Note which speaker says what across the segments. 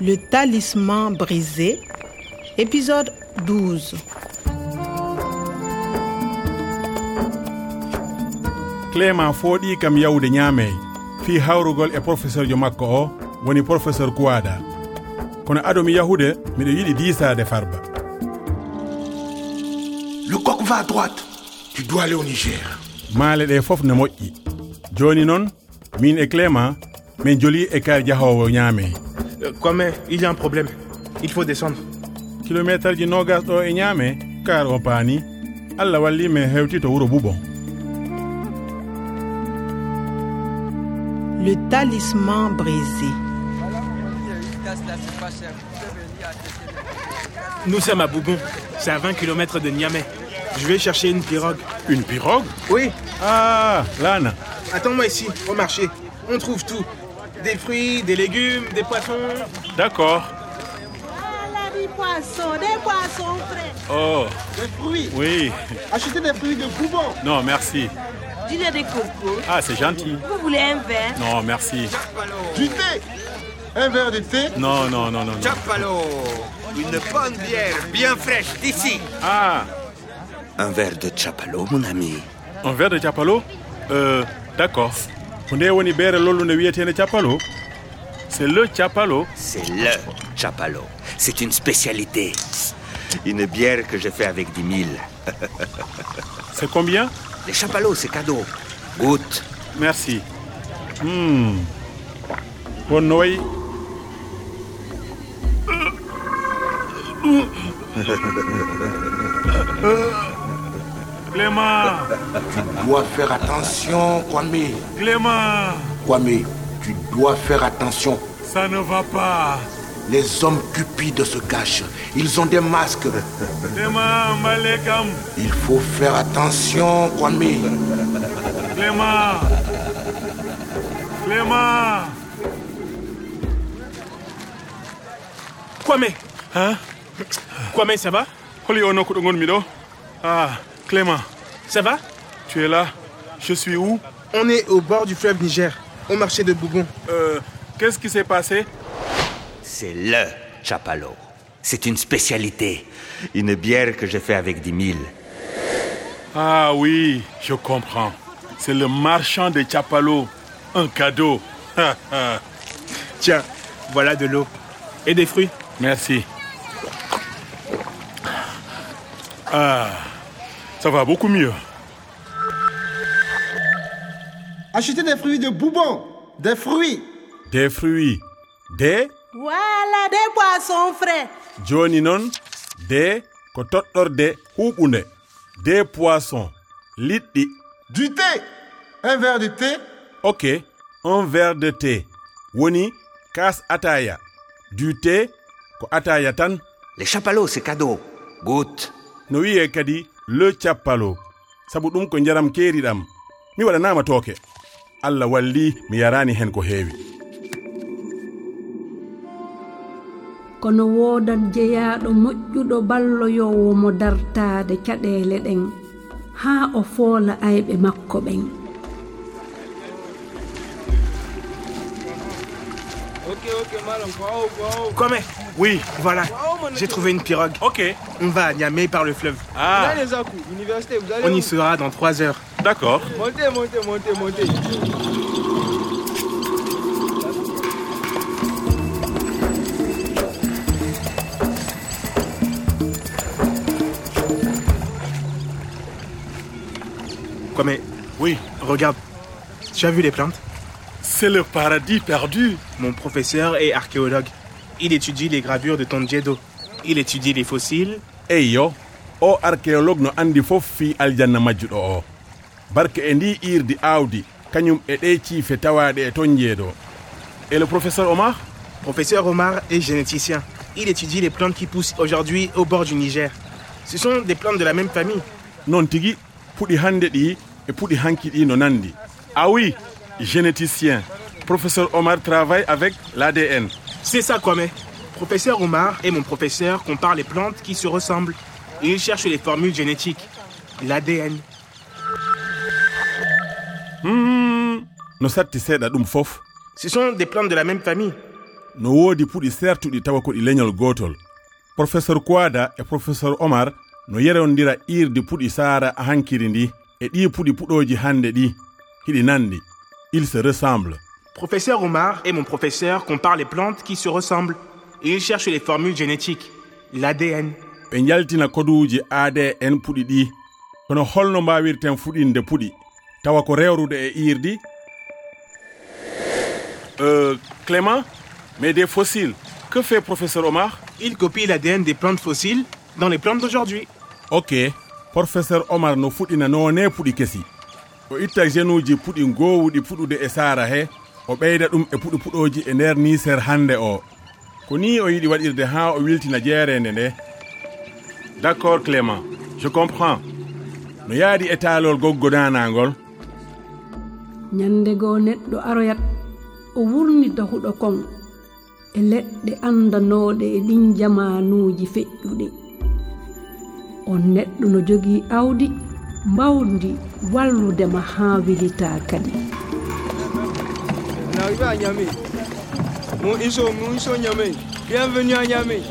Speaker 1: Le talisman brisé, épisode 12.
Speaker 2: clément fooɗi kam yawde ñaamey fii hawrugol e professeur jo makko o woni professeur kuwada kono adomi yahude miɗo yiɗi diisaade farba
Speaker 3: Le coq va à droite. Tu dois aller au Niger.
Speaker 2: maale ɗe fof ne moƴƴi jooni noon min e clément min joli e kar jahoowo ñaamey
Speaker 4: Euh, Kwame, il y a un problème. Il faut descendre.
Speaker 2: kilométre ji nogas ɗo e ñaame kar o paani allah walli min hewti to wuro bubon
Speaker 1: Le talisman brisé.
Speaker 4: Nous sommes à Bougon. C'est à 20 km de Niamey. Je vais chercher une pirogue.
Speaker 2: une pirogue
Speaker 4: Oui,
Speaker 2: ah lana
Speaker 4: attends-moi ici, au marché. On trouve tout. Des fruits, des légumes, des poissons.
Speaker 2: d' accord
Speaker 5: Ah, la vie poisson, des poissons frais.
Speaker 2: oh
Speaker 6: Des fruits.
Speaker 2: oui
Speaker 6: Achetez des fruits de Bouban.
Speaker 2: non merci
Speaker 5: Du lait de coco.
Speaker 2: ah c'est gentil
Speaker 5: Vous voulez un verre
Speaker 2: non merci
Speaker 6: Du thé. Un verre de thé.
Speaker 2: non non non non, non.
Speaker 7: Chapalo Une bonne bière bien fraîche d'ici
Speaker 2: ah
Speaker 7: Un verre de Chapalo, mon ami
Speaker 2: un verre de capalo euh, d' accord ko nde woni ɓeere lollunde wiyetede capalo c'est le capalo
Speaker 7: C'est le Chapalo. C'est une spécialité. Une bière que je fais avec 10 000.
Speaker 2: c'est combien
Speaker 7: Les Chapalos, c'est cadeau. Goûte.
Speaker 2: merci hmm. wonno wayi clément
Speaker 3: dois faire attention, Kwame.
Speaker 2: clément
Speaker 3: Kwame, tu dois faire attention.
Speaker 2: ça ne va pas
Speaker 3: Les hommes cupides se cachent. Ils ont des masques.
Speaker 2: clément male kam
Speaker 3: Il faut faire attention, Kwame.
Speaker 2: clément clément
Speaker 4: Kwame Kwame, ça va
Speaker 2: holi o nokku ɗo gonmi ɗo ah clément
Speaker 4: Ça va
Speaker 2: tu es là je suis où
Speaker 4: On est au bord du fleuve Niger, au marché de Bougon.
Speaker 2: Euh, qu'est-ce qui s'est passé
Speaker 7: C'est le Chapalo. C'est une spécialité. Une bière que je fais avec 10 000.
Speaker 2: Ah oui, je comprends. C'est le marchand de Chapalo. Un cadeau.
Speaker 4: Tiens, voilà de l'eau. Et des fruits.
Speaker 2: Merci. Ah, ça va beaucoup mieux.
Speaker 6: Achetez des fruits de Bouban. Des fruits.
Speaker 2: Des fruits. Des,
Speaker 5: Voilà, des poissons frais.
Speaker 2: joni non, des, ko toɗɗorde huɓunde. Des poissons. liɗɗi.
Speaker 6: Du thé. Un verre de thé.
Speaker 2: Ok, un verre de thé. Woni, kaas ataya. Du thé, ko ataya tan.
Speaker 7: Les Chapalos, c'est cadeau. Goûte.
Speaker 2: no wiye kadi le cappalo sabu ɗum ko jaram keeriɗam mi waɗanama tooke allah walli mi yarani hen ko heewi
Speaker 8: kono woodat jeyaaɗo moƴƴuɗo balloyowo mo dartaade caɗeele ɗen haa o foola ayɓe makko ɓen
Speaker 4: Kwame,
Speaker 2: oui
Speaker 4: voilà. J'ai trouvé une pirogue.
Speaker 2: ok
Speaker 4: On va à Niamey par le fleuve.
Speaker 2: ah
Speaker 4: On y sera dans 3 heures.
Speaker 2: d'accord
Speaker 4: Kwame,
Speaker 2: oui
Speaker 4: regarde. Tu as vu les plantes
Speaker 2: c'est le paradis perdu
Speaker 4: Mon professeur est archéologue. Il étudie les gravures de Tonjedo. Il étudie les fossiles.
Speaker 2: eyyo o archéologue no andi fof fi aljanna majjuɗo o barke e ndi irdi aawdi kañum e ɗe ciife tawaɗe e ton jeeɗo et le professeur omar
Speaker 4: Professeur Omar est généticien. Il étudie les plantes qui poussent aujourd'hui au bord du Niger. Ce sont des plantes de la même famille.
Speaker 2: noon tigi puɗi hannde ɗi e puɗi hanki ɗi no nandi ah oui généticien professeur omar travaille avec l'adn
Speaker 4: C'est ça, Kwame. Professeur Omar et mon professeur comparent les plantes qui se ressemblent. Ils cherchent les formules génétiques, l'ADN.
Speaker 2: no satti seeɗa ɗum fof
Speaker 4: Ce sont des plantes de la même famille.
Speaker 2: no woodi puɗi sertuɗi tawa ko ɗi leñol gotol professeur kowada e professeur omar no yerondira irdi puɗi saara hankiri ndi e ɗi puɗi puɗoji hande ɗi hiɗi nandi il se ressemble
Speaker 4: Professeur Omar et mon professeur comparent les plantes qui se ressemblent et ils cherchent les formules génétiques, l'ADN.
Speaker 2: ɓe jaltina koduuji adn puɗi ɗi kono holno mbawirten fuɗinde puɗi tawa ko rewrude e irdi euh, clément mais des fossiles que fait professeur omar
Speaker 4: Ils copient l'ADN des plantes fossiles dans les plantes d'aujourd'hui.
Speaker 2: ok professeur omar no fuɗɗina noone puɗi kesi o itta gene uji puɗi gowuɗi puɗude e saara he o ɓeyda ɗum e puɗi puɗoji e nder niser hande o ko ni o yiɗi waɗirde ha o wiltina jeerende nde d' accord clément je comprends no yaadi e taalol goggodanagol
Speaker 8: ñande goo neɗɗo aroyat o wurni dahuɗo kon e leɗɗe andanooɗe e ɗin jamanuuji feƴƴuɗe on neɗɗo no jogii aawdi mbawndi walludema haa wilitaa kadi
Speaker 9: On arrive à Niamey. Mon ISO, mon ISO Niamey. Bienvenue à Niamey.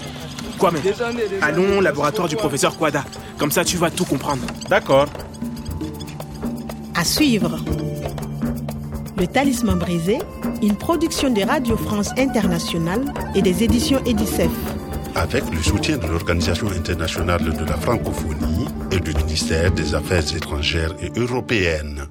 Speaker 4: Quoi mais
Speaker 9: Descendez, descendez.
Speaker 4: Allons au laboratoire du professeur Kwada. Comme ça, tu vas tout comprendre.
Speaker 2: d'accord
Speaker 1: À suivre. Le Talisman brisé, une production de Radio France Internationale et des éditions Edicef.
Speaker 10: avec le soutien de l'Organisation internationale de la francophonie et du ministère des Affaires étrangères et européennes.